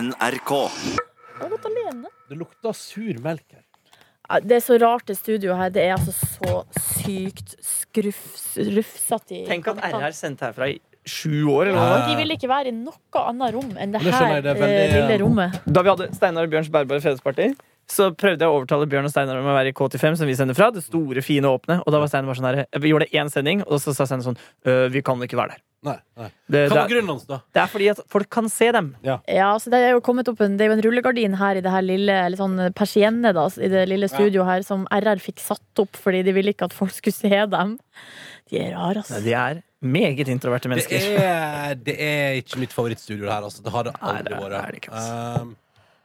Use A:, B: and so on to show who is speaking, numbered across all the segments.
A: NRK.
B: Jeg har gått alene.
C: Det lukter sur melk her.
B: Ja, Det er så rart, det studioet her. Det er altså så sykt skruff- rufsete i
D: Tenk at
B: kanten.
D: RR sendte herfra i sju år, eller hva?
B: De vil ikke være i noe annet rom enn det
C: Det
B: her
C: skjønner jeg, det er
B: eh,
C: veldig,
B: lille
C: eh,
B: rommet.
D: Da vi hadde Steinar og Bjørns bærbare fredagsparty, så prøvde jeg å overtale Bjørn og Steinar om å være i K85, som vi sender fra. Det store, fine, åpne. Og da var Steinar bare sånn her Vi gjorde én sending, og så sa Steinar sånn «Øh, Vi kan ikke være der.
C: Nei, nei.
D: Det,
C: Hva
D: det,
C: var
D: er-
C: grunnen hans, da?
D: det er fordi at folk kan se dem.
B: Ja, så Det er jo kommet opp en, det er jo en rullegardin her i det her lille eller sånn persienne da, i det lille studioet her, som RR fikk satt opp fordi de ville ikke at folk skulle se dem. De er rare, altså.
D: De er meget introverte
C: Det
D: mennesker.
C: er, det er ikke mitt favorittstudio det her, altså. Det har det
D: Nei, det
C: aldri
D: er- det er det
C: vært.
D: ikke, altså.
C: Um,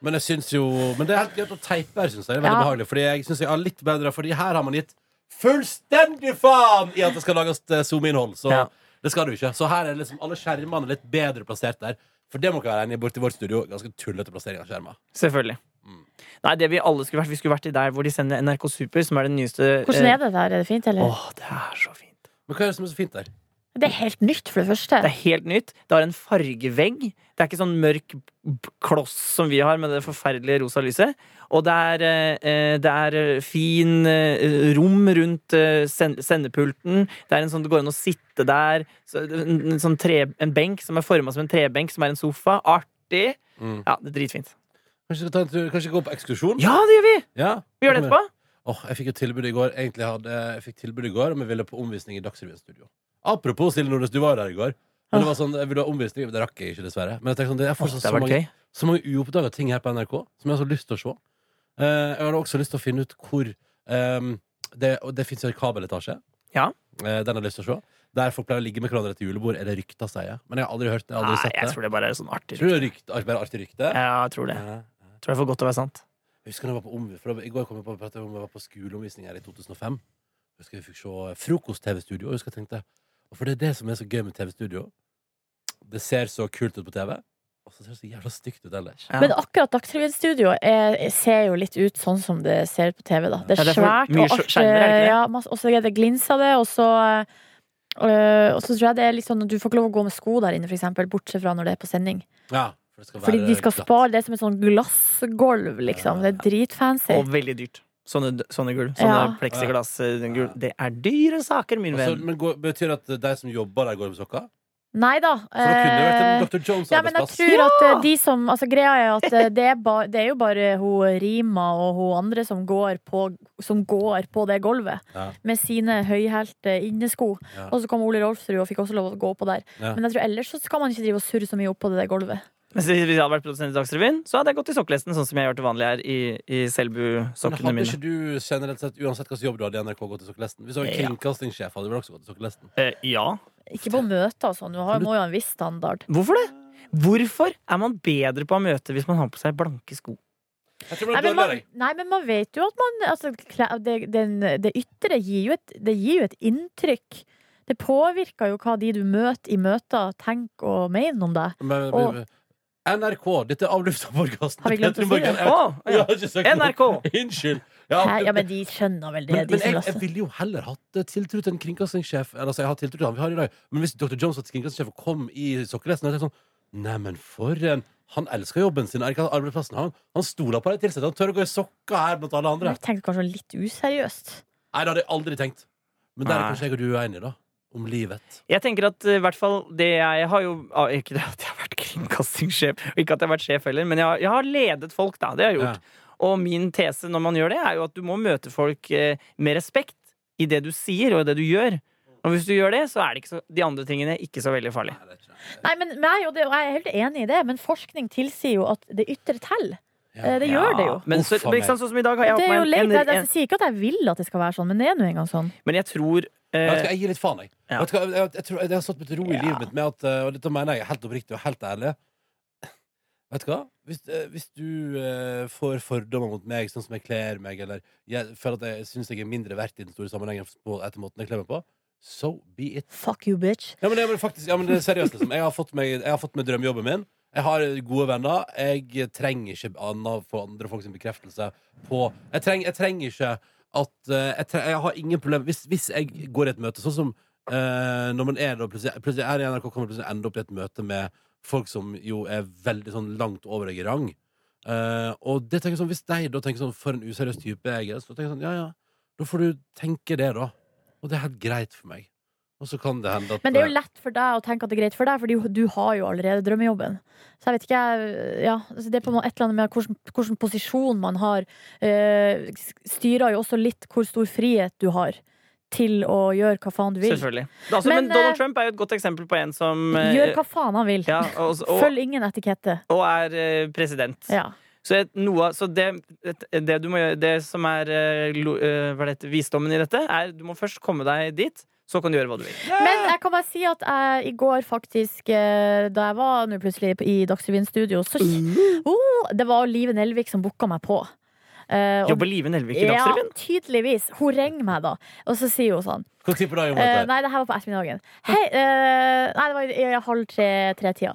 C: men jeg syns jo Men det er helt greit å teipe her, syns jeg. Det er veldig
B: Ja.
C: behagelig. Fordi jeg syns jeg har litt bedre Fordi her har man gitt fullstendig faen i at det skal lages eh, Zoom-innhold. Så
D: Ja.
C: det skal du ikke. Så her er liksom alle skjermene litt bedre plassert der. For det må ikke være enig i borti vårt studio. Ganske tullete plassering av skjermer.
D: Selvfølgelig. Nei, det vi alle skulle vært, vi skulle vært i der hvor de sender NRK Super, som er den nyeste
C: eh,
D: eh,
B: Hvordan er det der? Er det fint, eller?
D: Åh, det er så fint.
C: Men hva er det som er så fint der?
B: Det er helt nytt, for det første.
D: Det er helt nytt. Det har en fargevegg. Det er ikke sånn mørk b- kloss som vi har med det forferdelige rosa lyset. Og det er, eh, det er eh, fin eh, rom rundt eh, send sendepulten. Det er en sånn det går an å sitte der. Så, en, en, sånn tre, en benk som er forma som en trebenk, som er en sofa. Artig.
C: Mm.
D: Ja, det er dritfint.
C: Kanskje vi skal ta en tur, kanskje gå på ekskursjon?
D: Ja, det gjør vi!
C: Ja,
D: Vi gjør det etterpå.
C: Åh, jeg fikk et tilbud i går Egentlig hadde, jeg fikk tilbud i går Om jeg ville på omvisning i Dagsrevyen studio Apropos, Silje Nordnes, du var jo der i går Men det var sånn, jeg ville ha omvisning Det rakk jeg ikke dessverre Men jeg tenkte sånn, det er
D: Åh,
C: fortsatt
D: det
C: så
D: har vært
C: mange,
D: gøy.
C: så mange uoppdaget ting her på NRK Som jeg har så lyst til å se Eh, Jeg hadde også lyst til å finne ut hvor ehm, Det, og det finnes jo en kabeletasje
D: Ja.
C: Eh, Den har jeg lyst til å se Der folk pleier å ligge med hverandre til julebord Er det rykta, sier jeg Men jeg har aldri hørt det, jeg har aldri
D: Nei,
C: sett det
D: jeg tror det bare er sånn artig.
C: Tror du det er rykt, bare artig rykte? Eh.
D: Ja, jeg tror det.
C: Ja.
D: Jeg tror det er for godt til å være sant.
C: Jeg husker da jeg var på om, for da, I går kom jeg på at jeg var på skoleomvisning her i 2005. Jeg husker vi fikk se eh, frokost-TV-studio. og jeg husker jeg tenkte, og For det er det som er så gøy med TV-studio. Det ser så kult ut på TV, og så ser det så jævla stygt ut ellers.
D: Ja.
B: Men akkurat Dagsrevyen-studio er- ser jo litt ut sånn som det ser ut på TV. da Det er
D: Ja, det er for
B: svært
D: mye
B: og
D: skj- skjermer, er det ikke
B: artig.
D: det?
B: Ja, masse- og så er det glins av det, og så øh, og så tror jeg det er litt sånn at Du får ikke lov å gå med sko der inne, for eksempel, bortsett fra når det er på sending.
C: Ja, for det skal
B: Fordi
C: være
B: de skal
C: glatt.
B: spare det som et sånn glassgulv, liksom. Det er dritfancy.
D: Og veldig dyrt. Sånne, sånne gulv. Sånne
B: Ja.
D: pleksiglassgulv. Det er dyre saker, min
C: Altså,
D: venn.
C: men går, Betyr det at de som jobber der, går med sokker?
B: Nei da.
C: Så da kunne det vært en
B: eh, Ja,
C: Dr.
B: men jeg
C: Jones-arbeidsplass.
B: tror at eh, de som Altså, greia er at eh, det er, ba, det er jo bare hun Rima og hun andre som går på, som går på det gulvet
C: Ja.
B: med sine høyhælte innesko.
C: Ja.
B: Og så kom Ole Rolfsrud og fikk også lov å gå oppå der.
C: Ja.
B: Men jeg tror ellers så skal man ikke drive og surre så mye oppå det der gulvet.
D: Hvis hvis jeg hadde vært produsent i Dagsrevyen, så hadde jeg gått i sokkelesten, sånn som jeg gjør til vanlig her i, i
C: Men
D: Selbu-sokkene
C: hadde
D: mine.
C: ikke du generelt sett, uansett hvilken jobb du hadde i NRK, gått i sokkelesten? Hvis du var
D: Ja.
C: kringkastingssjef, hadde du vel også gått i sokkelesten?
D: Eh, ja.
B: Ikke på møter og sånn. Du har, må jo ha en viss standard.
D: Hvorfor det? Hvorfor er man bedre på å møte hvis man har på seg blanke sko?
C: Jeg tror
B: Nei
C: det
B: men,
C: var
B: man,
C: dårlig.
B: nei, men man vet jo at man altså, kle- det, den, det ytre gir jo, et, det gir jo et inntrykk. Det påvirker jo hva de du møter i møter, tenker og mener om deg.
C: Men,
B: Og-
C: men, NRK, dette er avlufta podkasten.
B: Har vi glemt å si det?
D: Å, ja. NRK!
C: Unnskyld. Ja,
B: Hæ? Ja, men de skjønner vel det,
C: men,
B: de
C: men
B: som
C: jeg, jeg
B: laster.
C: ville jo heller hatt eh, tiltro til en kringkastingssjef. Eller, Altså, jeg har tiltro til han vi har i dag Men hvis Dr. Jones var kringkastingssjef og kom i sokkelesten hadde jeg tenkt sånn, Neimen, for en Han elsker jobben sin. Er ikke han arbeidsplassen Han, han stoler på de ansatte. Han tør å gå i sokker her blant alle andre.
B: Jeg tenkte kanskje litt useriøst.
C: Nei, det hadde jeg aldri tenkt. Men der er
D: Nei.
C: kanskje jeg og du uenige, da. Om livet.
D: Jeg tenker at eh, i hvert fall det jeg har jo ah, Ikke det at jeg har vært kringkastingssjef, og ikke at jeg har vært sjef heller, men jeg har, jeg har ledet folk, da. Det har jeg gjort. Og min tese når man gjør det, er jo at du må møte folk eh, med respekt i det du sier og i det du gjør. Og hvis du gjør det, så er det ikke så, de andre tingene ikke så veldig farlig.
C: Nei, det er ikke det.
B: Nei, men nei, og det, og jeg er helt enig i det, men forskning tilsier jo at det ytre teller. Eh, Det gjør det jo.
D: Men så,
C: Uff a
D: men ikke sant, sånn som i dag har jeg
B: Det
D: hatt
B: er jo
D: meg
B: leit.
D: en,
B: Jeg,
D: en,
B: jeg
D: en
B: sier ikke at jeg vil at det skal være sånn, men det er nå engang sånn.
D: Men jeg tror
C: Ja, vet du hva,
D: eh,
C: jeg gir litt faen, jeg.
D: Ja.
C: Vet du hva, Jeg, jeg, jeg tror, det har stått med til ro i livet mitt med at eh, Og dette mener jeg helt oppriktig og helt ærlig. Vet du hva? Hvis, eh, hvis du eh, får fordommer mot meg, sånn som jeg kler meg, eller jeg føler at jeg syns jeg er mindre verdt i den store sammenhengen på, etter måten jeg kler meg på, so be it.
B: Fuck you, bitch.
C: Ja, men, ja, men faktisk, ja, men det er seriøst, liksom. Jeg har fått meg, jeg har fått meg drømmejobben min. Jeg har gode venner. Jeg trenger ikke annet for andre folks bekreftelse på Jeg, treng, jeg trenger ikke at eh, jeg, tre- jeg har ingen problem hvis, hvis jeg går i et møte, sånn som eh, når man er da plutselig, plutselig er i NRK kommer plutselig ende opp i et møte med folk som jo er veldig sånn langt over deg i rang. Eh, og det tenker jeg sånn, hvis de da tenker sånn For en useriøs type jeg er, så tenker jeg sånn, ja ja, da får du tenke det, da. Og det er helt greit for meg. Og så kan det hende at
B: Men det er jo lett for deg å tenke at det er greit for deg, Fordi du har jo allerede drømmejobben. Så jeg vet ikke, jeg ja, altså Det er på en måte et eller annet med hvilken, hvilken posisjon man har. Eh, styrer jo også litt hvor stor frihet du har til å gjøre hva faen du vil.
D: Selvfølgelig. Altså,
B: Men,
D: men, Donald
B: eh,
D: Trump er jo et godt eksempel på en som eh,
B: Gjør hva faen han vil.
D: ja, og, og,
B: Følg ingen etikette.
D: og er eh, president.
B: Ja.
D: Så, et, noe, av- så det, et- det du må gjøre Det som er eh, lo, eh, hva er det, heter, visdommen i dette, er du må først komme deg dit, så kan du gjøre hva du vil.
B: Men jeg kan bare si at jeg i går faktisk, eh, da jeg var nå plutselig i Dagsrevyen studio, så
D: Mm.
B: oh, Det var Live Nelvik som booka meg på. Eh, og-
D: Jobber Live Nelvik i Dagsrevyen?
B: Ja, tydeligvis. Hun ringer meg da, og så sier hun sånn
C: Hva tid på dagen var
B: Eh,
C: dette?
B: nei, det her var på ettermiddagen. Hei, eh, nei, det var i, i halv tre-tida.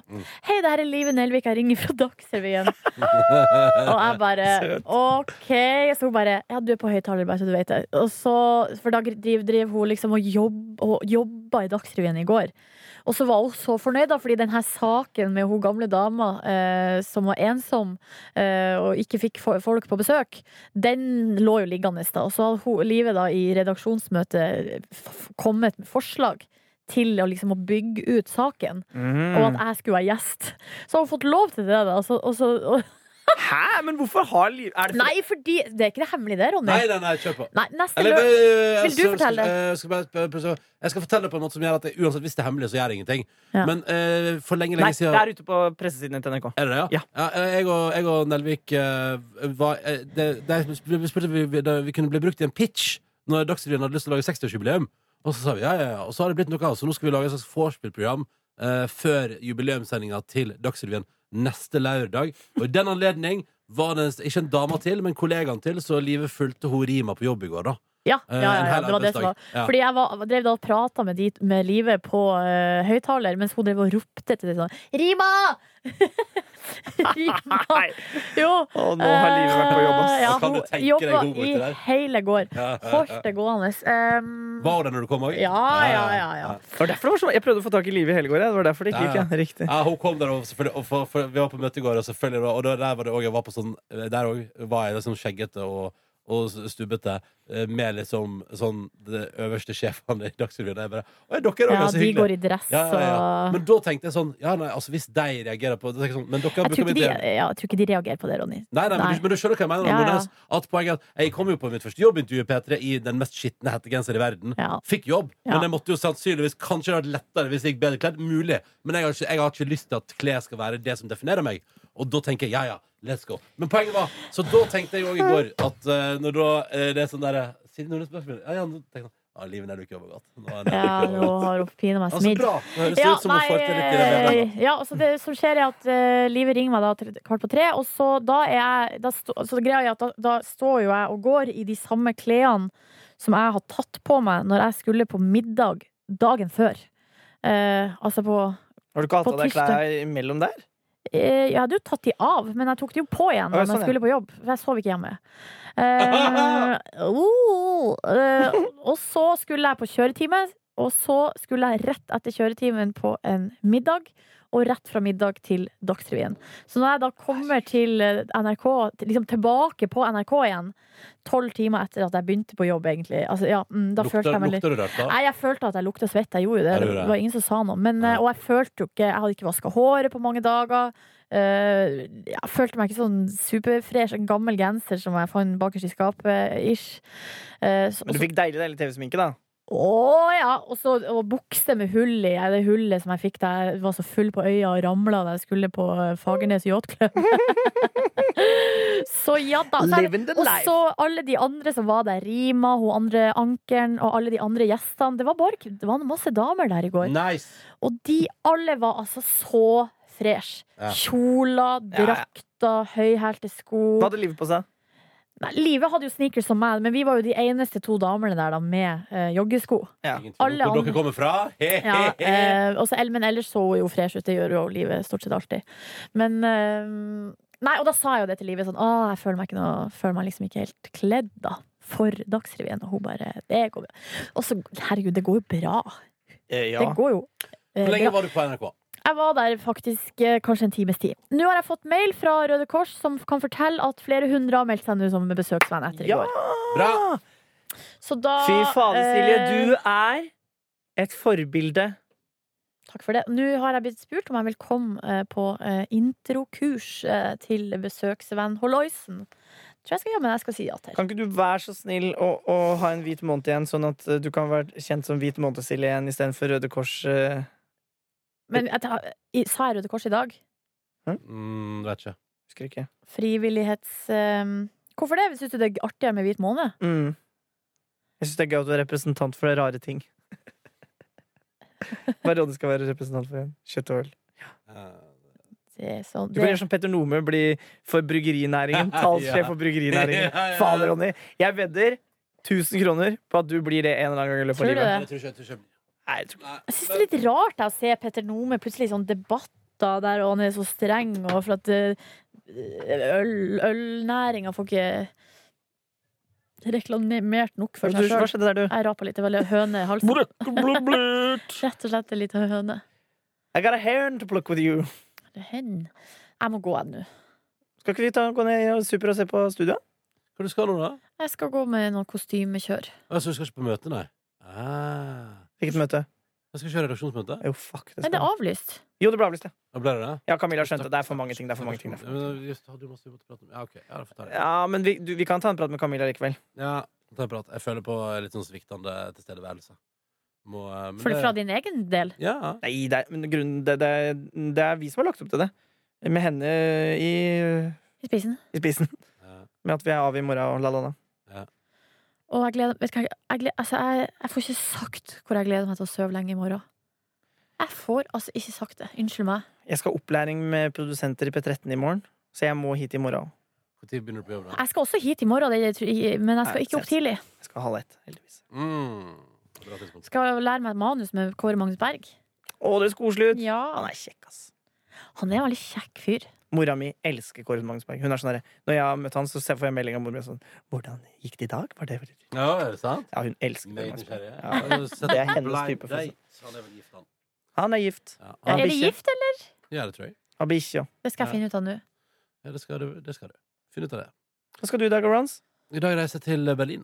B: Hei, det her er Live Nelvik, jeg ringer fra Dagsrevyen. og jeg bare
D: Søt.
B: OK. Så hun bare Ja, du er på høyttaler, bare så du vet det. Og så, for da driver, driver hun liksom og, jobb, og jobba i Dagsrevyen i går. Og så var hun så fornøyd, da, fordi den her saken med hun gamle dama eh, som var ensom eh, og ikke fikk fo- folk på besøk, den lå jo liggende da. Og så hadde hun, Live da i redaksjonsmøtet eh, f- kommet med forslag til å liksom å bygge ut saken,
C: Mhm.
D: Mm.
B: og at jeg skulle være gjest. Så har hun fått lov til det, da. Og så, og så, og,
D: Hæ? Men hvorfor har Liv er det for-
B: nei, fordi Det er ikke det hemmelige det, Ronny.
C: Nei, nei, nei, kjør på.
B: Nei, neste
C: Eller,
B: lø-
C: eh,
B: Vil du
C: altså,
B: fortelle?
C: eh, Jeg skal, bare prøve- prøve- jeg skal fortelle på en måte som gjør at jeg, uansett hvis det er hemmelig, så gjør jeg ingenting.
B: Ja.
C: Men eh, for lenge,
D: Nei,
C: lenge
D: det
C: siden
D: er ute på pressesidene til NRK.
C: Er det det,
D: Ja.
C: ja? eh, jeg, og, jeg og Nelvik eh, var eh, det, det, jeg spurte- Vi spurte om vi, vi, da vi kunne bli brukt i en pitch når Dagsrevyen hadde lyst til å lage 60-årsjubileum. Og så sa vi ja, ja, ja. Og så har det blitt noe av, så nå skal vi lage et slags vorspiel-program eh, før jubileumssendinga til Dagsrevyen neste lørdag. Og i den anledning var det en- ikke en dame til, men kollegaen til, så livet fulgte hun Rima på jobb i går, da.
B: Ja,
C: Eh,
B: ja, ja,
C: en
B: ja,
C: hel
B: det var det som
C: arbeidsdag.
B: var.
C: Ja.
B: Fordi jeg var, drev da og prata med, de- med Live på eh, høyttaler, mens hun drev og ropte til dem sånn Rima! Rima!
D: Nei.
B: Jo!
D: Og nå har Liv vært på jobb, ass.
B: Eh, Ja,
C: Hva kan du
B: hun
C: tenke deg
B: jobba
C: god borti
B: i
C: der?
B: hele går.
C: Ja, ja,
B: Holdt
C: ja.
B: det gående. Um,
C: Var det når du kom òg?
B: ja, ja, ja, ja.
D: Det var derfor det var så Jeg prøvde å få tak i Liv i Hellegård. jeg. Det var derfor det ikke
C: Ja,
D: gikk.
C: ja.
D: Ja. Riktig.
C: Ja, hun kom der, og, selvfølgelig- og for, for, vi var på møte i går, og selvfølgelig og da- der var det også, jeg var på sånn Der òg var jeg liksom skjeggete og, og stubbete eh, med liksom sånn de øverste sjefene i Dagsrevyen. Og jeg bare Å, er dere
B: Ja,
C: òg så
B: de
C: hyggelige?
B: går i dress
C: Ja, ja, ja.
B: og
C: Men da tenkte jeg sånn Ja, nei, altså hvis de reagerer på det tenker jeg sånn, Men dere
B: jeg tror,
C: bruker
B: ikke
C: mitt
B: de,
C: de...
B: ja, jeg tror ikke de reagerer på det, Ronny.
C: Nei, nei, men,
B: Nei.
C: du, men du skjønner hva jeg mener.
B: Ja, ja.
C: Nordnes, At poenget er at Jeg kom jo på mitt første jobbintervju i P3 i den mest skitne hettegenser i verden.
B: Ja.
C: Fikk jobb,
B: Ja.
C: men jeg måtte jo sannsynligvis Kanskje det hadde vært lettere hvis jeg gikk bedre kledd. Mulig. Men jeg har, ikke, jeg har ikke lyst til at klær skal være det som definerer meg. Og da tenker jeg ja, ja, let's go. Men poenget var Så da tenkte jeg jo i går at eh, når da eh, det er sånn derre Siden Nordnes spørsmål Ja, ja, nå tenker jeg ja, livet er du ikke jobber godt. Nå er det
B: Ja,
C: ikke
B: nå
C: jobber godt.
B: har hun pinadø meg
C: Altså,
B: smidd. eh,
C: bra. Det høres ut som hun får til litt i det bedre.
B: nei, ja, så det som skjer er at eh, Live ringer meg da til kvart på tre, og så da er jeg da stå, Så greia er at da, da står jo jeg og går i de samme klærne som jeg har tatt på meg når jeg skulle på middag dagen før. Eh, altså på
D: Har du ikke hatt
B: På
D: av deg klær imellom der?
B: eh, Jeg hadde jo tatt de av, men jeg tok de jo på igjen
D: Å,
B: når
D: ja, sånn,
B: jeg
D: ja.
B: skulle på jobb. For jeg sov ikke hjemme. Eh, oh, eh, og så skulle jeg på kjøretime, og så skulle jeg rett etter kjøretimen på en middag. Og rett fra middag til Dagsrevyen. Så når jeg da kommer til eh, NRK, til- liksom tilbake på NRK igjen, tolv timer etter at jeg begynte på jobb, egentlig altså, ja, mm, da følte
C: Lukter,
B: jeg meg litt
C: lukter du rart da?
B: Nei, jeg følte at jeg lukta svette. Jeg gjorde jo det.
C: Ja, du gjorde
B: det
C: det.
B: var ingen som sa noe. Men,
C: Nei.
B: eh, og jeg følte jo ikke Jeg hadde ikke vaska håret på mange dager. Eh, jeg følte meg ikke sånn superfresh. En gammel genser som jeg fant bakerst i skapet, ish. Eh, så-
D: Men
B: og
D: du
B: så-
D: fikk deilig deilig TV-sminke, da.
B: Å ja! Og så og bukse med hull i. Det hullet som jeg fikk da jeg var så full på øya og ramla da jeg skulle på eh, Fagernes yachtklubb. så ja da. Så jeg-
D: Living the
B: og så alle de andre som var der. Rima, hun andre ankeren og alle de andre gjestene. Det var, bare, det var masse damer der i går.
C: Nice.
B: Og de alle var altså så fresh.
C: Ja.
B: Kjoler,
D: Ja, ja.
B: drakter, høyhælte sko.
D: Hva hadde livet på seg?
B: Nei, Live hadde jo sneakers som meg, men vi var jo de eneste to damene der da med eh, joggesko.
D: Ja.
C: Ingen tvil om
B: Alle
C: Hvor
B: andre-
C: dere kommer fra? He, he,
B: Ja,
C: he.
B: eh, også, El- men ellers så hun jo fresh ut. Det gjør jo livet stort sett alltid. Men eh, Nei, og da sa jeg jo det til livet sånn Å, jeg føler meg, ikke noe, føler meg liksom ikke helt kledd, da. For Dagsrevyen. Og hun bare Det går bra. Og så Herregud, det går jo bra. Det
D: Eh, ja.
B: går jo eh,
C: Hvor
B: bra.
C: lenge var du på NRK?
B: Jeg var der faktisk eh, kanskje en times tid. Nå har jeg fått mail fra Røde Kors som kan fortelle at flere hundre har meldt seg nå som besøksvenn etter i
D: Ja!
B: går.
C: Bra.
B: Så da
D: Fy fader, Silje.
B: eh,
D: Du er et forbilde.
B: Takk for det. Nå har jeg blitt spurt om jeg vil komme eh, på eh, introkurs eh, til besøksvenn Holloisen. Tror jeg skal gjøre, men jeg skal si ja til.
D: Kan ikke du være så snill å, å ha en hvit måned igjen, sånn at eh, du kan være kjent som Hvit måned-Silje igjen istedenfor Røde Kors? eh,
B: Men jeg, tar- i- sa jeg Røde Kors i dag?
C: Mm, vet ikke.
D: Husker ikke.
B: Frivillighets... Eh, hvorfor det? Syns du det er artigere med hvit måned?
D: Mm. Jeg syns det er gøy at du er representant for rare ting. Hva er rådet skal være representant for? igjen? Kjøtt og øl.
C: Eh,
B: Det er sånn,
D: Du
B: det,
D: kan gjøre som Petter Nome, bli for bryggerinæringen. Talssjef
C: Ja.
D: for bryggerinæringen.
C: Ja, ja, ja.
D: Fader, Ronny. Jeg vedder 1000 kroner på at du blir det en eller annen gang i løpet av
B: Tror du
D: livet.
B: det?
C: Jeg tror ikke jeg tror ikke jeg-
D: Nei, jeg tror ikke.
C: Nei,
B: Jeg syns det er litt rart da, å se Petter Nome plutselig i sånn debatter der, og han er så streng, og for at eh, øl- ølnæringa får ikke reklamert nok for seg
D: Du- Hva
B: sjøl.
D: skjedde der, du?
B: Jeg rapa litt. Det var litt høne i halsen.
D: I
B: Rett og slett en liten høne.
D: got a hand to pluck with you.
B: Det er Hen. Jeg må gå jeg nå.
D: Skal ikke vi ta, gå ned og super og se på studioet?
C: Hva du skal nå, da?
B: Jeg skal gå med noe kostymekjør.
C: Altså, du skal ikke på møte, nei? Ah.
D: Hvilket møte?
C: Jeg skal ikke ha redaksjonsmøte.
D: Jo, fuck. Det
B: Men det er
D: skal.
B: avlyst.
D: Jo, det ble avlyst, ja.
C: Da ble det det?
D: Ja, Camilla skjønte det. Det er for mange ting. Det er for mange ting. Det er for mange ting.
C: Men Just, hadde jo masse vi måtte prate om. Ja, OK. Ja, da får jeg ta det.
D: Ja, men vi, du, vi kan ta en prat med Camilla likevel.
C: Ja, ta en prat. Jeg føler på litt sånn sviktende tilstedeværelse. Må, eh, men
B: For det er fra din egen del.
C: Ja.
D: Nei, det er, men grunnen, det, det, det er vi som har lagt opp til det. Med henne i,
B: I spisen.
D: i spissen.
C: ja.
D: Med at vi er av i morgen og la la la.
B: Og jeg gleder Vet du hva, jeg, jeg, gleder, altså jeg, jeg får ikke sagt hvor jeg gleder meg til å sove lenge i morgen. Jeg får altså ikke sagt det. Unnskyld meg.
D: Jeg skal ha opplæring med produsenter i P13 i morgen, så jeg må hit i morgen òg.
C: Når begynner du på jobb, da?
B: Jeg skal også hit i morgen, det, tror jeg- men jeg skal
D: Nei,
B: ikke opp tidlig.
D: Jeg skal ha halv ett, heldigvis.
C: Mm. Bra tidspunkt.
B: Skal lære meg et manus med Kåre Magnus Berg.
D: Å, dere skal koselig ut!
B: Ja,
D: Han er kjekk, ass.
B: Han er en veldig kjekk fyr.
D: Mora mi elsker Kåre Magnsberg. Hun er sånn der, Når jeg har møtt han, så ser- får jeg melding av mora mi sånn 'Hvordan gikk det i dag?' Var det Ja,
C: Ja, er det sant?
D: hun elsker Kåre
C: Meget
D: Magnsberg.
C: nysgjerrig.
D: Ja.
C: Det
D: Det er hennes type, for å si.
C: Han er vel gift, han.
D: Han er gift.
C: Ja,
D: Ja.
C: han-
B: Er det
D: bikkje.
B: gift, eller?
C: ja det tror jeg.
D: Har bikkje òg.
B: Det skal jeg
C: Ja.
B: finne ut av nå.
C: Ja, det skal du. Det skal du. Finn ut av det.
D: Hva skal du i dag, Rons?
C: I dag reiser jeg til Berlin.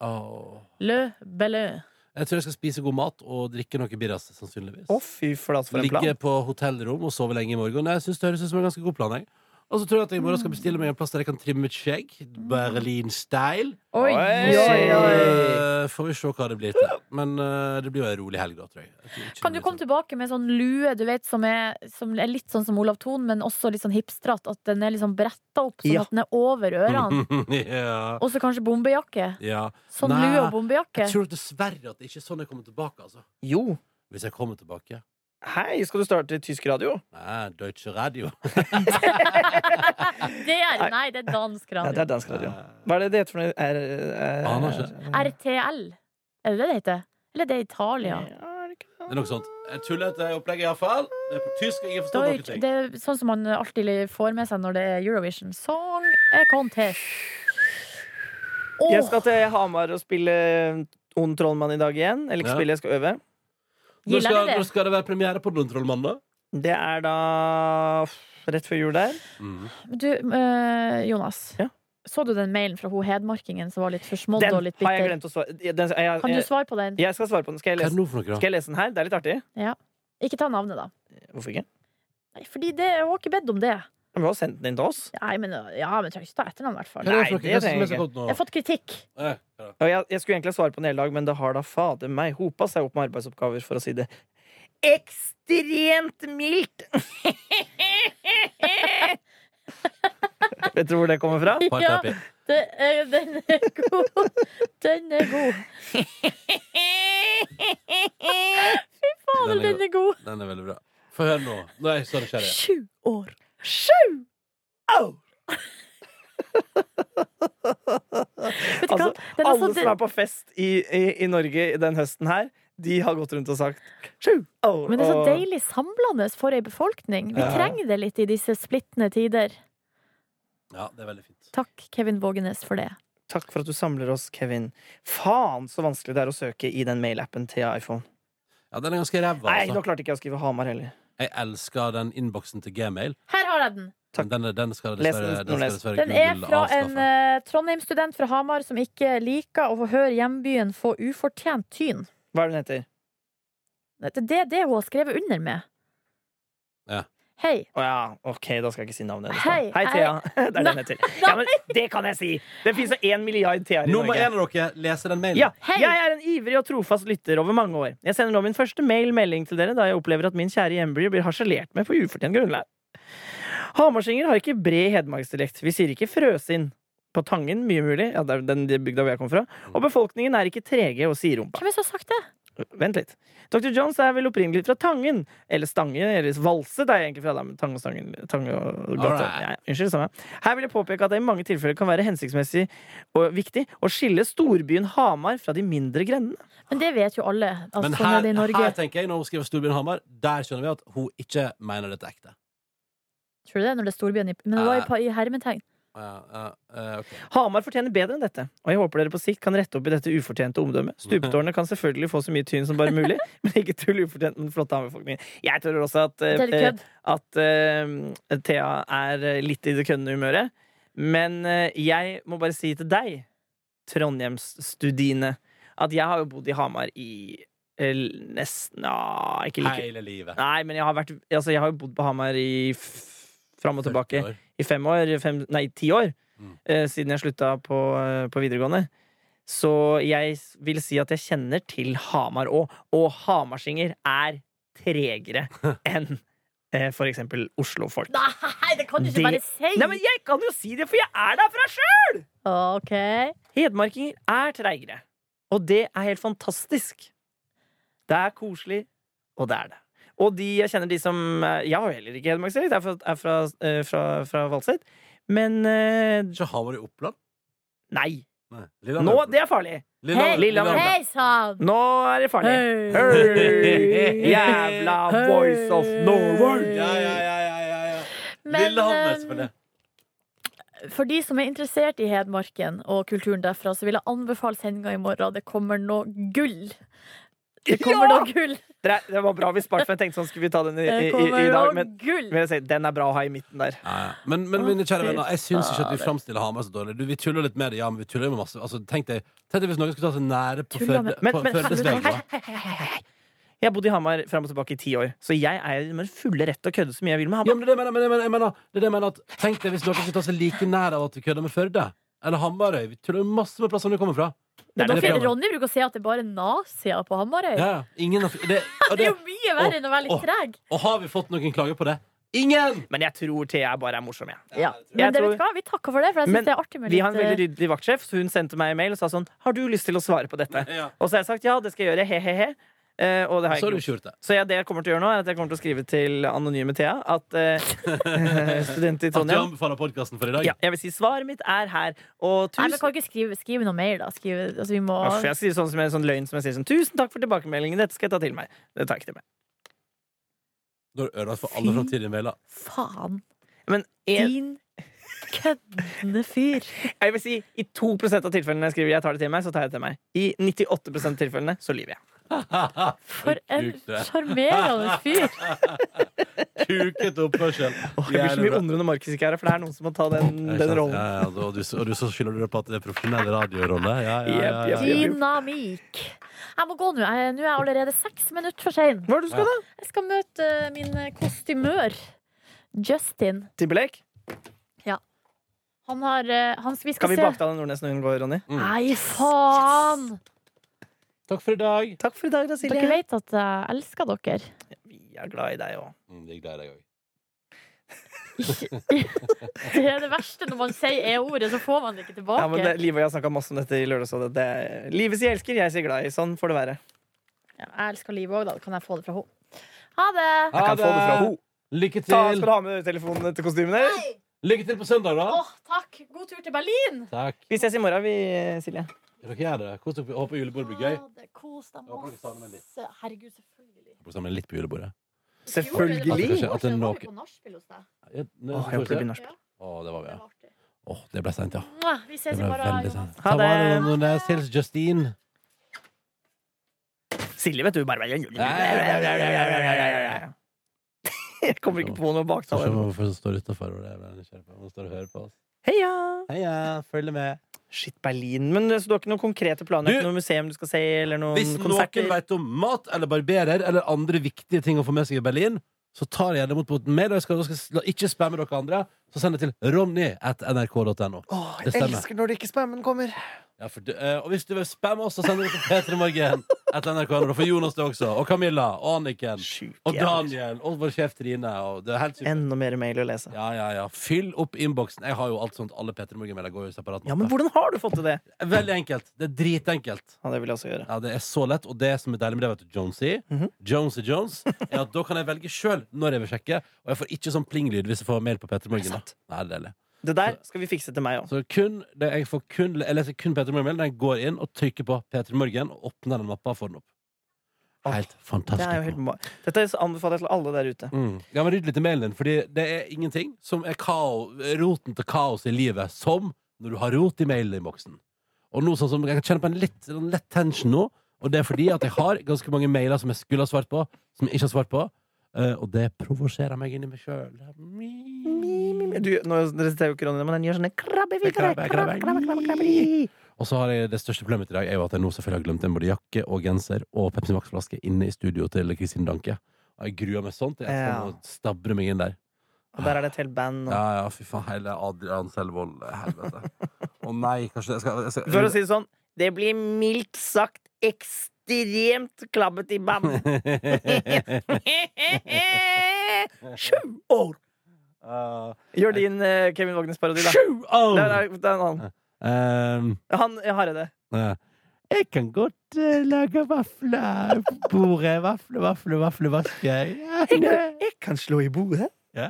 C: Åh.
B: Le Belleux.
C: Jeg tror jeg skal spise god mat og drikke noe birras, sannsynligvis.
D: Å, fy flate, for en plan.
C: Ligge på hotellrom og sove lenge i morgen. Jeg synes det høres ut som en ganske god plan. Jeg. Og så tror jeg at jeg i morgen skal bestille meg en plass der jeg kan trimme et skjegg. Berlin style.
B: Oi,
D: Oi.
B: oi, oi.
C: Eh, får vi se hva det blir til. Men eh, det blir jo en rolig helg, da, tror jeg. jeg tror ikke
B: Kan du
C: det blir
B: komme
C: sånn-
B: tilbake med sånn lue du vet, som, er, som er litt sånn som Olav Thon, men også litt sånn hipstrat? At den er liksom bretta opp, sånn
D: Ja.
B: at den er over ørene?
C: ja.
B: Og så kanskje bombejakke?
C: ja.
B: Sånn
C: Nei,
B: lue og bombejakke?
C: Jeg tror dessverre at det ikke er sånn jeg kommer tilbake, altså.
D: Jo.
C: Hvis jeg kommer tilbake.
D: Hei, skal du starte i tysk radio?
C: Nei, Deutsche Radio.
B: Det er, nei, det er dansk
D: Nei,
B: radio.
D: det er dansk radio. Hva er det det heter for noe? Er, er,
C: Aner
B: RTL. Er det det det heter? Eller det er Italia?
D: er det ikke
C: Det er noe sånt. Jeg tuller etter opplegget, iallfall. Det er på tysk, og jeg forstår
B: Deutsch,
C: noen
B: det
C: ting.
B: er sånn som man alltid får med seg når det er Eurovision. Song contest. Åh,
D: Jeg skal til Hamar og spille Ond trollmann i dag igjen. Eller ikke
C: Ja.
D: spille, jeg skal øve.
C: Når
B: gilder
C: skal,
B: dere det?
C: når skal det være premiere på Den trollmannen, da?
D: Det er da rett før jul der.
C: Mm.
B: Du, eh, Jonas.
D: Ja.
B: Så du den mailen fra hun hedmarkingen som var litt forsmådd
D: Den
B: og litt
D: har jeg
B: bitter?
D: glemt Eh, å svare den, jeg, jeg,
B: Kan du svare på den?
D: jeg skal svare på den. Skal jeg,
C: Hva er det
D: lese,
C: nå for noe, da?
D: skal jeg lese den her? Det er litt artig.
B: Ikke ta navnet, da.
D: Hvorfor ikke?
B: Nei, fordi det, jeg har ikke bedt om det.
D: Vi har jo sendt den inn til oss.
B: Nei, men, ja, men jeg trenger ikke ta etternavn, i hvert fall.
C: Hva er
D: Nei,
C: det for
D: det
C: noe? Hva er det
D: trenger jeg
C: som er så godt nå?
B: Jeg har fått kritikk.
C: Eh, hva da?
D: Og jeg, jeg skulle egentlig svare på den hele dag, men det har da fader meg hopa seg opp med arbeidsoppgaver, for å si det ekstremt mildt! Vet du hvor det kommer fra?
B: Ja,
C: Parterapi.
B: det er, den er god. Den er god. Fader,
C: Den er
B: den er god.
C: Den er veldig bra. Få høre nå. Nå er jeg så nysgjerrig.
B: Sju år. Vet du hva?
D: Altså,
B: Den er
D: Alle
B: så-
D: som er på fest i, i, i Norge den høsten her, de har gått rundt og sagt sju år.
B: Men det er så
D: og-
B: deilig samlende for ei befolkning. Vi
D: Ja.
B: trenger det litt i disse splittende tider.
C: Ja, det er veldig fint.
B: Takk, Kevin Vågenes, for det.
D: Takk for at du samler oss, Kevin. Faen så vanskelig det er å søke i den mailappen til iPhone.
C: Ja, den er ganske ræva,
D: Nei, nå
C: altså.
D: klarte ikke jeg å skrive Hamar heller.
C: Jeg elsker den innboksen til Gmail.
B: Her har jeg den!
D: Takk.
C: Den, den skal
D: Les den,
C: dessverre, den skal
D: Nordnes.
C: dessverre
B: Den er
C: Google
B: fra en
C: avskaffe.
B: eh, Trondheim-student fra Hamar som ikke liker å få høre hjembyen få ufortjent tyn.
D: Hva er det hun heter?
B: Det det er det hun har skrevet under med.
C: Ja.
B: Hei.
D: Å ja, ok, da skal jeg ikke si navnet hennes.
B: Hei,
D: da. Hei, Thea. Det er den jeg heter. Ja, men det kan jeg si! Det fins én milliard
B: eh,
D: Theaer i
C: Nummer
D: Norge.
C: én av dere leser den mailen.
D: Ja,
B: Hei.
D: Jeg er en ivrig og trofast lytter over mange år. Jeg sender nå min første mail-melding til dere da jeg opplever at min kjære hjemby blir harselert med på ufortjent grunnlag. Hamarsinger har ikke bred hedmarksdialekt. Vi sier ikke frøsinn. På Tangen, mye mulig, ja, det er den bygda hvor jeg kom fra. Og befolkningen er ikke trege og siderumpa.
B: Hvem er det som har sagt det?
D: Vent litt. Dr. Jones er vel opprinnelig fra Tangen. Eller Stange. Eller Valset er jeg egentlig fra. Da, men Tange og Stangen Tange og gata.
C: Alright.
D: Ja, ja, unnskyld, samme. Her vil jeg påpeke at det i mange tilfeller kan være hensiktsmessig og viktig å skille storbyen Hamar fra de mindre grendene.
B: Men det vet jo alle. Altså,
C: Men
B: sånn er
C: her,
B: det i Norge.
C: her tenker jeg, når hun skriver Storbyen Hamar, der skjønner vi at hun ikke mener dette ekte.
B: Tror du det? Når det er storbyen i Men det var i, pa- i hermetegn.
C: Ja, ja, ja, ok.
D: Hamar fortjener bedre enn dette, og jeg håper dere på sikt kan rette opp i dette ufortjente omdømmet. Stupetårnet kan selvfølgelig få så mye tyn som bare mulig, men ikke tull ufortjent med den flotte Hamar-befolkningen. Jeg tror også at
B: Det
D: eh,
B: er litt kødd.
D: at eh, Thea er eh, litt i det køddende humøret. Men eh, jeg må bare si til deg, Trondheimsstudine, at jeg har jo bodd i Hamar i eh, nesten ja, ikke like
C: Hele livet.
D: Nei, men jeg har, vært, altså, jeg har jo bodd på Hamar i f- fram og tilbake
C: 40 år.
D: i fem år, fem, nei, ti år,
C: Mm.
D: eh, siden jeg slutta på, eh, på videregående. Så jeg s- vil si at jeg kjenner til Hamar òg, og hamarsinger er tregere enn eh, for eksempel Oslo-folk.
B: Nei, det kan du ikke
D: Det-
B: bare si!
D: Nei, men jeg kan jo si det, for jeg er derfra sjøl!
B: OK.
D: Hedmarkinger er treigere, og det er helt fantastisk. Det er koselig, og det er det. Og de jeg kjenner, de som eh, Jeg har jo heller ikke hedmarksdialekt, jeg er fra, er fra, eh, fra, fra Valset. Men eh,
C: Ikke Hamar i Oppland?
D: Nei.
C: Nei.
D: Nå, det er farlig!
B: Hei,
D: Lillehammer.
B: hei sann!
D: Nå er det farlig.
B: Hei.
D: Hei. Jævla
B: Hei.
D: Voice of Norway!
C: Ja, ja, ja, ja, ja, ja.
B: Men,
C: Lillehammer,
D: um,
B: eh,
C: selvfølgelig.
B: For de som er interessert i Hedmarken og kulturen derfra, så vil jeg anbefale sendinga i morgen. Det kommer noe gull. Det kommer
D: Ja!
B: noe gull!
D: Dere, Det var bra vi sparte, for jeg tenkte sånn skulle vi ta den i,
B: Det
D: i, i,
B: kommer
D: i dag.
B: noe
D: Men,
B: gull!
D: men jeg sier, den er bra å ha i midten der.
C: Ja, ja. Men, men mine kjære venner, jeg syns ikke at vi framstiller Hamar så dårlig. Du, vi tuller litt med det, ja, men vi tuller med masse. Altså, tenk deg, tenk deg hvis noen skulle ta seg nære på
B: Tuller med-
C: Førde-
D: Men,
C: på
D: men
C: Førdes
D: hei,
C: vei, da.
D: hei, hei, hei, hei, hei. Jeg har bodd i Hamar fram og tilbake i ti år, så jeg er i min fulle rett til å kødde så mye jeg vil med
C: Ja,
D: Hamar.
C: men det er det jeg mener, men jeg mener, jeg mener, det er det jeg mener at, Tenk deg hvis noen skulle ta seg like nær av at vi kødder med Førde. Eller Hamarøy. Vi tuller masse med plassene du kommer fra.
D: Det er
C: det
B: Dere,
C: programmet.
B: Ronny bruker å si at det er bare nazier på Hamarøy.
C: Ja, ja. ingen har, det,
B: Det
C: og, det,
B: er jo mye verre enn å være
C: Åh,
B: litt treg.
C: og har vi fått noen klager på det? Ingen!
D: Men jeg tror Thea bare er morsom, jeg.
B: Ja.
D: Jeg
B: Men det,
D: tror-
B: vet du hva? vi takker for det, for jeg
D: Men
B: syns det er artig med
D: Vi har en veldig
B: litt eh,
D: ryddig vaktsjef, så hun sendte meg en mail og sa sånn Har du lyst til å svare på dette?
C: Ja.
D: Og så har jeg sagt ja, det skal jeg gjøre, he-he-he. Eh, og det har
C: Så har du
D: jeg ikke gjort.
C: ikke gjort det.
D: Så jeg, det jeg kommer til å gjøre nå, er at jeg kommer til å skrive til anonyme Thea at eh, student i
C: At du
D: Trondheim
C: anbefaler podkasten for i dag?
D: ja, Jeg vil si svaret mitt er her. Og
B: Nei, men
D: tusen
B: kan vi ikke skrive, skrive noe mer, da? Skrive, altså, vi må
D: Uff, Jeg skriver sånn som en sånn løgn som jeg sier sånn Tusen takk for tilbakemeldingen, dette skal jeg ta til meg. Det tar jeg ikke til meg.
C: Da har du ødelagt for alle
B: Fy.
C: framtidige mailer.
B: Faen!
D: Men en,
B: Din køddende fyr.
D: Jeg vil si i 2 av tilfellene jeg skriver jeg tar det til meg, så tar jeg det til meg. I 98 av tilfellene så lyver jeg.
B: For en
C: Sjukt, det.
B: sjarmerende fyr.
C: Kuket oppførsel.
D: Åh, jeg blir så mye ondere når Markus ikke er her, for det er noen som må ta den,
C: Ja, ikke
D: den
C: sant?
D: rollen.
C: Ja, ja, og, du, og du så skylder du det på at det er profesjonell radiorolle? Ja, ja, ja, ja,
D: Jepp,
C: ja.
D: jepp,
B: Dynamikk. Jeg må gå nå. Jeg- Nå er jeg allerede seks minutter for sein.
D: Hva er det du skal, da?
B: Jeg skal møte eh, min kostymør, Justin.
D: Timberlake?
B: Han har eh, han, Vi
D: Kan
B: skal
D: vi
B: se.
D: baktale Nordnes når hun går, Ronny?
B: Nei, faen!
C: Takk for i dag.
D: Takk for i dag, da, Silje.
B: Dere vet at jeg elsker dere.
D: Vi er glad i deg òg.
C: Mm, det er glad i deg òg.
B: Det er det verste når man sier e-ordet, så får man det ikke tilbake.
D: Ja, men det- Liv og jeg har snakka masse om dette i Lørdagsrådet. Det er- Livet sier elsker, jeg sier glad i. Sånn får det være.
B: Ja, Jeg elsker livet òg, da. Kan jeg få det fra henne? Ha det!
D: Jeg kan få det fra ho.
C: Lykke
D: Ta, skal
C: til.
D: du ha med telefonen til kostymene? eller?
C: Lykke til på søndag,
B: Åh,
C: da.
B: takk! God tur til Berlin!
C: Takk.
D: Vi ses i morgen, vi, Silje.
C: Dere gjør det. Kos dere. Håper julebordet blir gøy.
B: Ha det. Kos deg
C: Jeg håper dere tar det med litt.
B: masse. Herregud, selvfølgelig.
C: Håper sammen litt på julebordet.
D: Selvfølgelig.
C: At det er
B: Var
C: noe-
B: vi på nachspiel hos deg?
C: Ja, nå
D: Åh, jeg
C: får vi
D: håper det
C: se.
D: blir norsk.
B: Ja,
C: Å, det var vi,
B: det
C: ja.
B: var artig.
C: Åh, det ble seint, ja.
B: Mwah, Vi ses
C: Det
B: i
C: ble
B: morgen,
C: veldig
B: Jonas.
C: seint.
D: Ha
C: Ta vare
D: det.
C: på Nordnes. Hils eh, Justine.
D: Silje, vet du, bare Jeg kommer ikke på noe
C: Skal
D: baktale.
C: se hvorfor hun står utafor. Hun står og hører på oss.
D: Heia!
C: Heia, følg med.
D: Shit, Berlin. Men så du har ikke noen konkrete planer?
C: Du-
D: Ikke noe museum du skal se, eller noen
C: Hvis
D: konserter?
C: noen vet om mat eller barberer eller andre viktige ting å få med seg i Berlin, så tar jeg gjerne imot på mail. Og jeg skal, jeg skal ikke spamme dere andre, så send det til ronny.nrk.no.
D: Åh,
C: Det
D: jeg
C: stemmer.
D: elsker når det ikke spammen kommer.
C: Ja, for, du- eh, og hvis du vil spamme oss, så sender du det til p3morgen.nrk.no. Da får Jonas det også. Og Camilla. Og Anniken.
D: Sjuke
C: Og
D: jævler.
C: Daniel. Og vår sjef Trine. Og det er helt supert.
D: Enda mer mail å lese.
C: Ja, ja, ja. Fyll opp innboksen. Jeg har jo alt sånt. Alle P3 Morgen-mailer går jo i separat.
D: Ja, men
C: mappe.
D: hvordan har du fått til det?
C: Veldig enkelt. Det er dritenkelt.
D: Ja, det vil jeg også gjøre.
C: Ja, Det er så lett, og det som er deilig med det, vet du, Jonesy,
D: Mhm.
C: Jonesy Jones, er at da kan jeg velge sjøl når jeg vil sjekke, og jeg får ikke sånn plinglyd hvis jeg får mail på P3 Morgen. da.
D: sant?
C: Nei, det er deilig.
D: Det der skal vi fikse til meg òg.
C: Så kun, det, jeg, får kun, jeg leser kun P3 Morgen-mail. Den går inn og trykker på P3 Morgen og åpner den mappa og får den opp. Helt fantastisk.
D: Det er jo helt ma Dette anbefaler jeg til alle der ute.
C: Mm. Ja, men Rydd litt i mailen din, Fordi det er ingenting som er kao, roten til kaos i livet, som når du har rot i mailinnboksen. Og nå sånn som Jeg kan kjenne på en litt, en lett tension nå, og det er fordi at jeg har ganske mange mailer som jeg skulle ha svart på, som jeg ikke har svart på. eh, og det provoserer meg inni meg sjøl.
D: Du, nå resiterer jo ikke Ronny, men den gjør sånne krabbevitere.
C: Krabbe,
D: Krabbe,
C: krabbe.
D: krabbe, krabbe, krabbe.
C: Og så har jeg det største problemet mitt i dag er jo at jeg nå selvfølgelig har glemt en både jakke og genser og Pepsi Max-flaske inne i studio til Kristin Danke. Og jeg gruer meg sånn til at jeg
D: Ja.
C: må stabbre meg inn der.
D: Og der er det et helt band. Og...
C: Ja, ja, fy faen, hele Adrian Selvold, helvete. Å nei, kanskje jeg skal, jeg skal
D: For å si det sånn, det blir mildt sagt ekstremt klabbet i band. Sju år!
C: Uh,
D: Gjør din eh, Kevin Vågenes-parodi, da.
C: Sju år!
D: Der er, det er en annen.
C: Ehm,
D: Han Hareide.
C: ja. Jeg kan godt eh, lage vafler på bordet. Vafle, vafle, vafle, vaske. Ja, det-
D: Jeg kan slå i bordet.
C: Ja.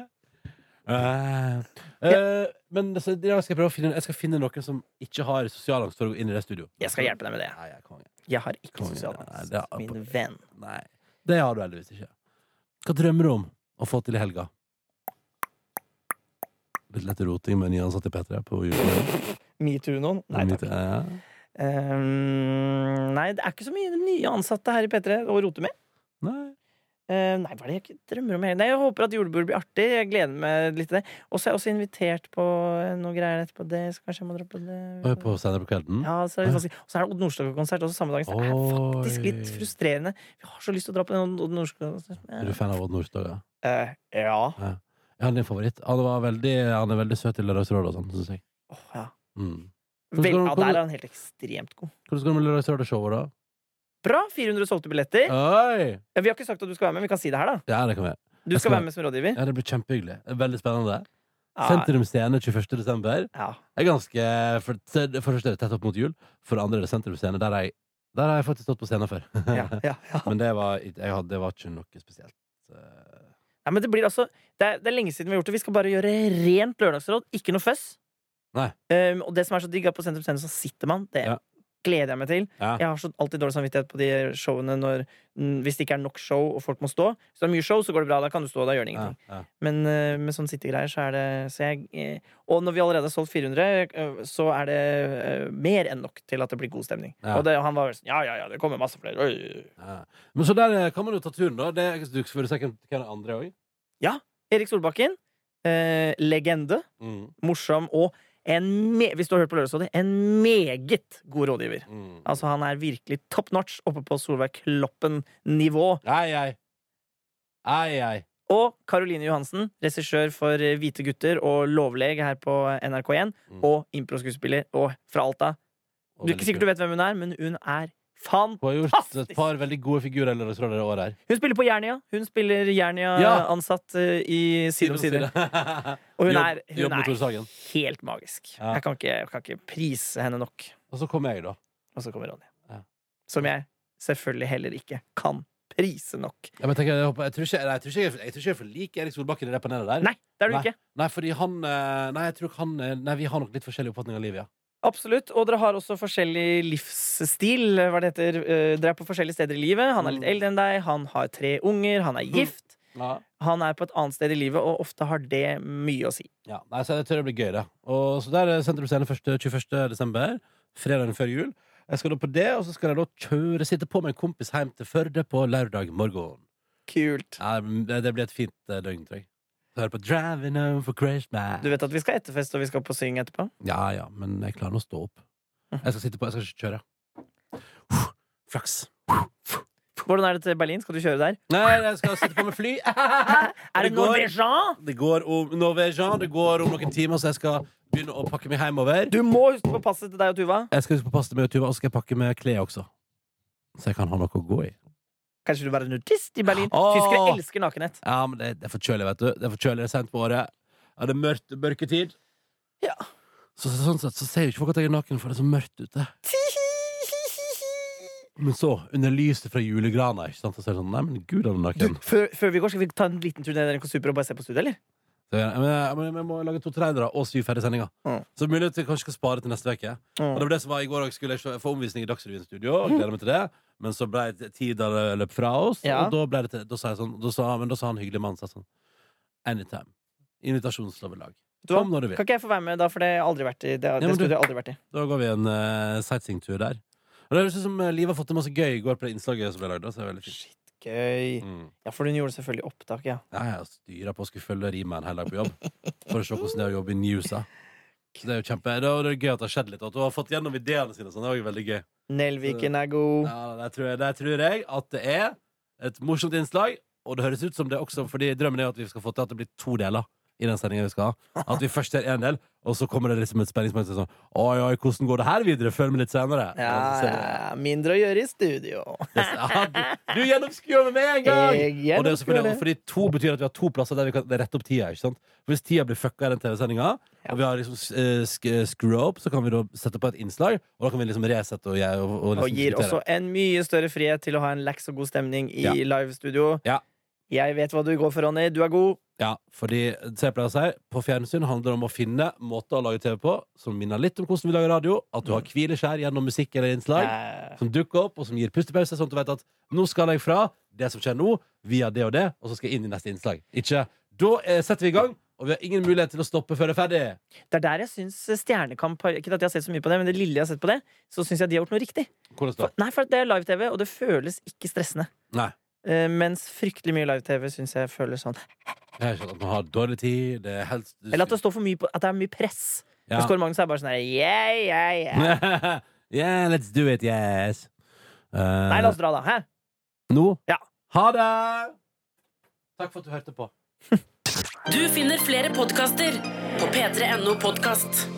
C: Eh, eh, men altså, i dag skal jeg prøve å finne Jeg skal finne noen som ikke har sosial angst for å gå inn i det studio.
D: Jeg skal hjelpe deg med det.
C: Nei, jeg kan ikke.
D: Jeg har ikke
C: Konge.
D: sosial
C: Nei,
D: angst,
C: det er-
D: min venn.
C: Nei. Det har du heldigvis ikke. Hva drømmer du om å få til i helga? Litt lett roting med nyansatte i P3 på julen.
D: Metoo noen? Nei takk.
C: Ja.
D: Ehm, nei, det er ikke så mye nye ansatte her i P3 å rote med.
C: Nei.
D: Ehm, nei, hva er det jeg ikke drømmer om? hele- Nei, jeg håper at julebord blir artig. Jeg gleder meg litt til det. Og så er jeg også invitert på noen greier etterpå det, så kanskje jeg må dra på
C: Og er
D: det.
C: på senere på kvelden?
D: Ja, så er det litt vanskelig. Og så er det Odd Nordstoga-konsert også samme dagen. Så det er faktisk litt
C: Oi.
D: frustrerende. Vi har så lyst til å dra på den Odd Nordstoga-konserten.
C: Er du fan av Odd Nordstoga?
D: Eh, ja.
C: Er han din favoritt? Han, var veldig, han er veldig søt i Lørdagsrådet og sånn, syns jeg.
D: Åh, ja.
C: Mm.
D: Vel,
C: Hvordan-
D: ja, der er han helt ekstremt god.
C: Hvordan skal det med Lørdagsrådet-showet, da?
D: Bra! 400 solgte billetter.
C: Oi!
D: Ja, Vi har ikke sagt at du skal være med, vi kan si det her, da.
C: Ja, det kan vi.
D: Du
C: Jeg
D: skal
C: skal-
D: være med som rådgiver.
C: Ja, det blir kjempehyggelig. Veldig spennende.
D: Ja,
C: Sentrum Scene 21. desember.
D: ja.
C: Jeg er ganske For, for det første er det tett opp mot jul. For det andre er det sentrumsscene. Der, er jeg- der har jeg faktisk stått på scenen før.
D: ja, ja, ja.
C: Men det var, ikke- jeg hadde, det var ikke noe spesielt. Eh,
D: Nei, men det blir altså det er, det er lenge siden vi har gjort det. Vi skal bare gjøre rent lørdagsråd. Ikke noe føss.
C: Nei.
D: Um, og det som er så digg, er på Sentrum Scene så sitter man. Det
C: Ja.
D: gleder jeg meg til.
C: Ja.
D: Jeg har så alltid dårlig samvittighet på de showene når, mm, hvis det ikke er nok show og folk må stå. Hvis det er mye show, så går det bra. Da kan du stå, da gjør det
C: ja,
D: ingenting.
C: ja.
D: Men uh, med sånne sittegreier, så er det så jeg, eh, Og når vi allerede har solgt 400, eh, så er det eh, mer enn nok til at det blir god stemning.
C: Ja.
D: Og det, han var sånn Ja, ja, ja, det kommer masse flere. Oi, oi, oi.
C: ja. Men så der eh, kan man jo ta turen, da. Det er, du spør sikkert hvem er andre òg.
D: Erik Solbakken. eh, legende.
C: Mm,
D: morsom og en me hvis du har hørt på Lørdagsrådet, en meget god rådgiver.
C: mm.
D: Altså Han er virkelig top notch oppe på Solveig Kloppen-nivå.
C: Ei, ei. Ei, ei.
D: Og Karoline Johansen, regissør for eh, Hvite gutter og lovleg her på NRK1.
C: Mm.
D: Og improskuespiller og fra Alta. Du er ikke sikkert du vet hvem hun er, men hun er fan.
C: Hun har gjort et par veldig gode figurer i Lørdagsrådet i år her.
D: Hun spiller på Jernia. Hun spiller
C: Ja.
D: Jernia-ansatt eh, i Side om side. Og hun
C: Jobb-
D: er, hun
C: jobb med Tore
D: er
C: Sagen.
D: helt magisk.
C: Ja.
D: Jeg kan ikke, jeg kan ikke prise henne nok.
C: Og så kom jeg, da.
D: Og så kommer Ronny.
C: Ja.
D: Som jeg selvfølgelig heller ikke kan prise nok.
C: Ja, men tenk, jeg, håper, jeg, tror ikke, nei, jeg, tror ikke, jeg, jeg tror ikke jeg er for lik Erik Solbakken i det panelet der.
D: Nei, det er du ikke.
C: Nei, fordi han eh, Nei, jeg tror ikke han eh, Nei, vi har nok litt forskjellig oppfatning av livet, ja.
D: Absolutt. Og dere har også forskjellig livsstil. Hva det heter. Eh, Dere er på forskjellige steder i livet. Han er litt eldre enn deg, han har tre unger, han er gift. Han er på et annet sted i livet, og ofte har det mye å si.
C: Ja, nei, så jeg tror det blir gøy, det. Og, så der eh, er Sentrum Scene 1. 21. desember, fredagen før jul. Jeg skal da på det, og så skal jeg da kjøre, sitte på med en kompis hjem til Førde på lørdag morgen.
D: Kult.
C: Nei, men det, det blir et fint eh, døgn, tror jeg. Hør på 'Driving Home for Christmas'.
D: Du vet at vi skal etterfeste og vi skal på syng etterpå?
C: Ja, ja, men jeg klarer nå å stå opp. Jeg skal sitte på, jeg skal ikke kjøre. Flaks.
D: Hvordan er det til Berlin? Skal du kjøre der?
C: Nei, jeg skal sitte på med fly.
D: Er det
C: Det går.
D: Norwegian?
C: Det går om Norwegian, det går om noen timer, så jeg skal begynne å pakke meg hjemover.
D: Du må huske på passet til deg og Tuva.
C: Jeg skal huske på å passe meg og Tuva, og så skal jeg pakke med klær også. Så jeg kan ha noe å gå i.
D: Kanskje du var nudist i Berlin?
C: Åh.
D: Tyskere elsker nakenhet.
C: Ja, men det, det er forkjølig, vet du. Det er forkjølig, det er sent på året. Ja, det er mørkt, det er mørketid.
D: Ja.
C: Så, så, sånn sett så ser jo ikke folk at jeg er naken, for det er så mørkt ute. Men så, under lyset fra julegrana, ikke sant, så ser jeg sånn Nei, men gud, han er
D: Du,
C: naken.
D: før, før vi går, skal vi ta en liten tur ned i NRK Super og bare se på studiet, eller?
C: Så jeg, men, jeg, men jeg må lage to trailere og syv ferdig sendinger.
D: Mm.
C: Så mulig at vi kanskje skal spare til neste uke. Og det var det som var i går òg. Skulle jeg se- få omvisning i Dagsrevyen studio. Og gleder meg til det. Men så ble det tida løp fra oss,
D: Ja.
C: og da, ble det til, da, sa jeg sånn, da, sa, men da sa han hyggelig mann sa sånn Anytime. Invitasjonsoverlag.
D: Vet du hva?
C: Kom når du vil.
D: Kan ikke jeg få være med, da? For det har jeg aldri vært i. Det, det
C: men du- Mm.
D: studiet har jeg aldri vært i.
C: Da går vi en uh, sightseeingtur der. Og det høres ut som eh, Liv har fått til masse gøy i går på det innslaget som ble lagd. da, Så det er veldig fint.
D: Shit, gøy.
C: Mm.
D: Ja, for hun gjorde selvfølgelig opptak, ja.
C: Ja, jeg har styra på å skulle følge Riemann hele dag på jobb. For å se hvordan det er å jobbe i Newsa. Så det er jo kjempe, det er, det er gøy at det har skjedd litt, og at hun har fått gjennom ideene sine. og Sånn. Det er jo veldig gøy.
D: Nelviken er god.
C: Ja, der tror, jeg, der tror jeg at det er et morsomt innslag. Og det høres ut som det også, fordi drømmen er at vi skal få til at det blir to deler. I den sendingen vi skal ha At vi først ser én del, og så kommer det liksom et spenningsmoment. Sånn, oi, oi, hvordan går det her videre? Følg med litt senere.
D: Ja,
C: Og så ser vi det.
D: ja, mindre å gjøre i studio.
C: Yes. Ja, du, du gjennomskuer meg med en gang!
D: Jeg
C: Og det er selvfølgelig,
D: gjennomskuer det.
C: fordi to betyr at vi har to plasser der vi kan rette opp tida. ikke sant? For Hvis tida blir fucka i den TV-sendinga, og vi har liksom eh, sk screw up, så kan vi da sette på et innslag, og da kan vi liksom resette og, og, og, liksom
D: Og gir
C: diskutere.
D: også en mye større frihet til å ha en lax og god stemning i
C: Ja.
D: livestudio.
C: Ja.
D: Jeg vet hva du går for, Ronny. Du er god.
C: Ja, fordi se på det jeg sier, på fjernsyn handler det om å finne måter å lage TV på som minner litt om hvordan vi lager radio. At du
D: Mm.
C: har hvileskjær gjennom musikk eller innslag
D: Eh,
C: som dukker opp, og som gir pustepause, sånn at du vet at nå skal jeg fra det som skjer nå, via det og det, og så skal jeg inn i neste innslag. Ikke Da eh, setter vi i gang, og vi har ingen mulighet til å stoppe før det er ferdig.
D: Det er der jeg syns Stjernekamp har Ikke at jeg har sett så mye på det, men det lille jeg har sett på det, så syns jeg de har gjort noe riktig.
C: Hvordan da?
D: For, nei, for det er live-TV, og det føles ikke stressende.
C: Nei.
D: Eh, mens fryktelig mye live-TV syns jeg føles sånn.
C: Jeg har skjønt at man har dårlig tid, det er helst
D: Eller at det står for mye på At det er mye press.
C: Ja.
D: Mens Kåre Magnus er bare sånn her yeah, yeah, yeah.
C: Yeah, let's do it, yes. Eh,
D: Nei, la oss dra, da. Hæ?
C: Nå?
D: Ja.
C: Ha det! Takk for at du hørte på.
A: Du finner flere podkaster på p3.no podkast.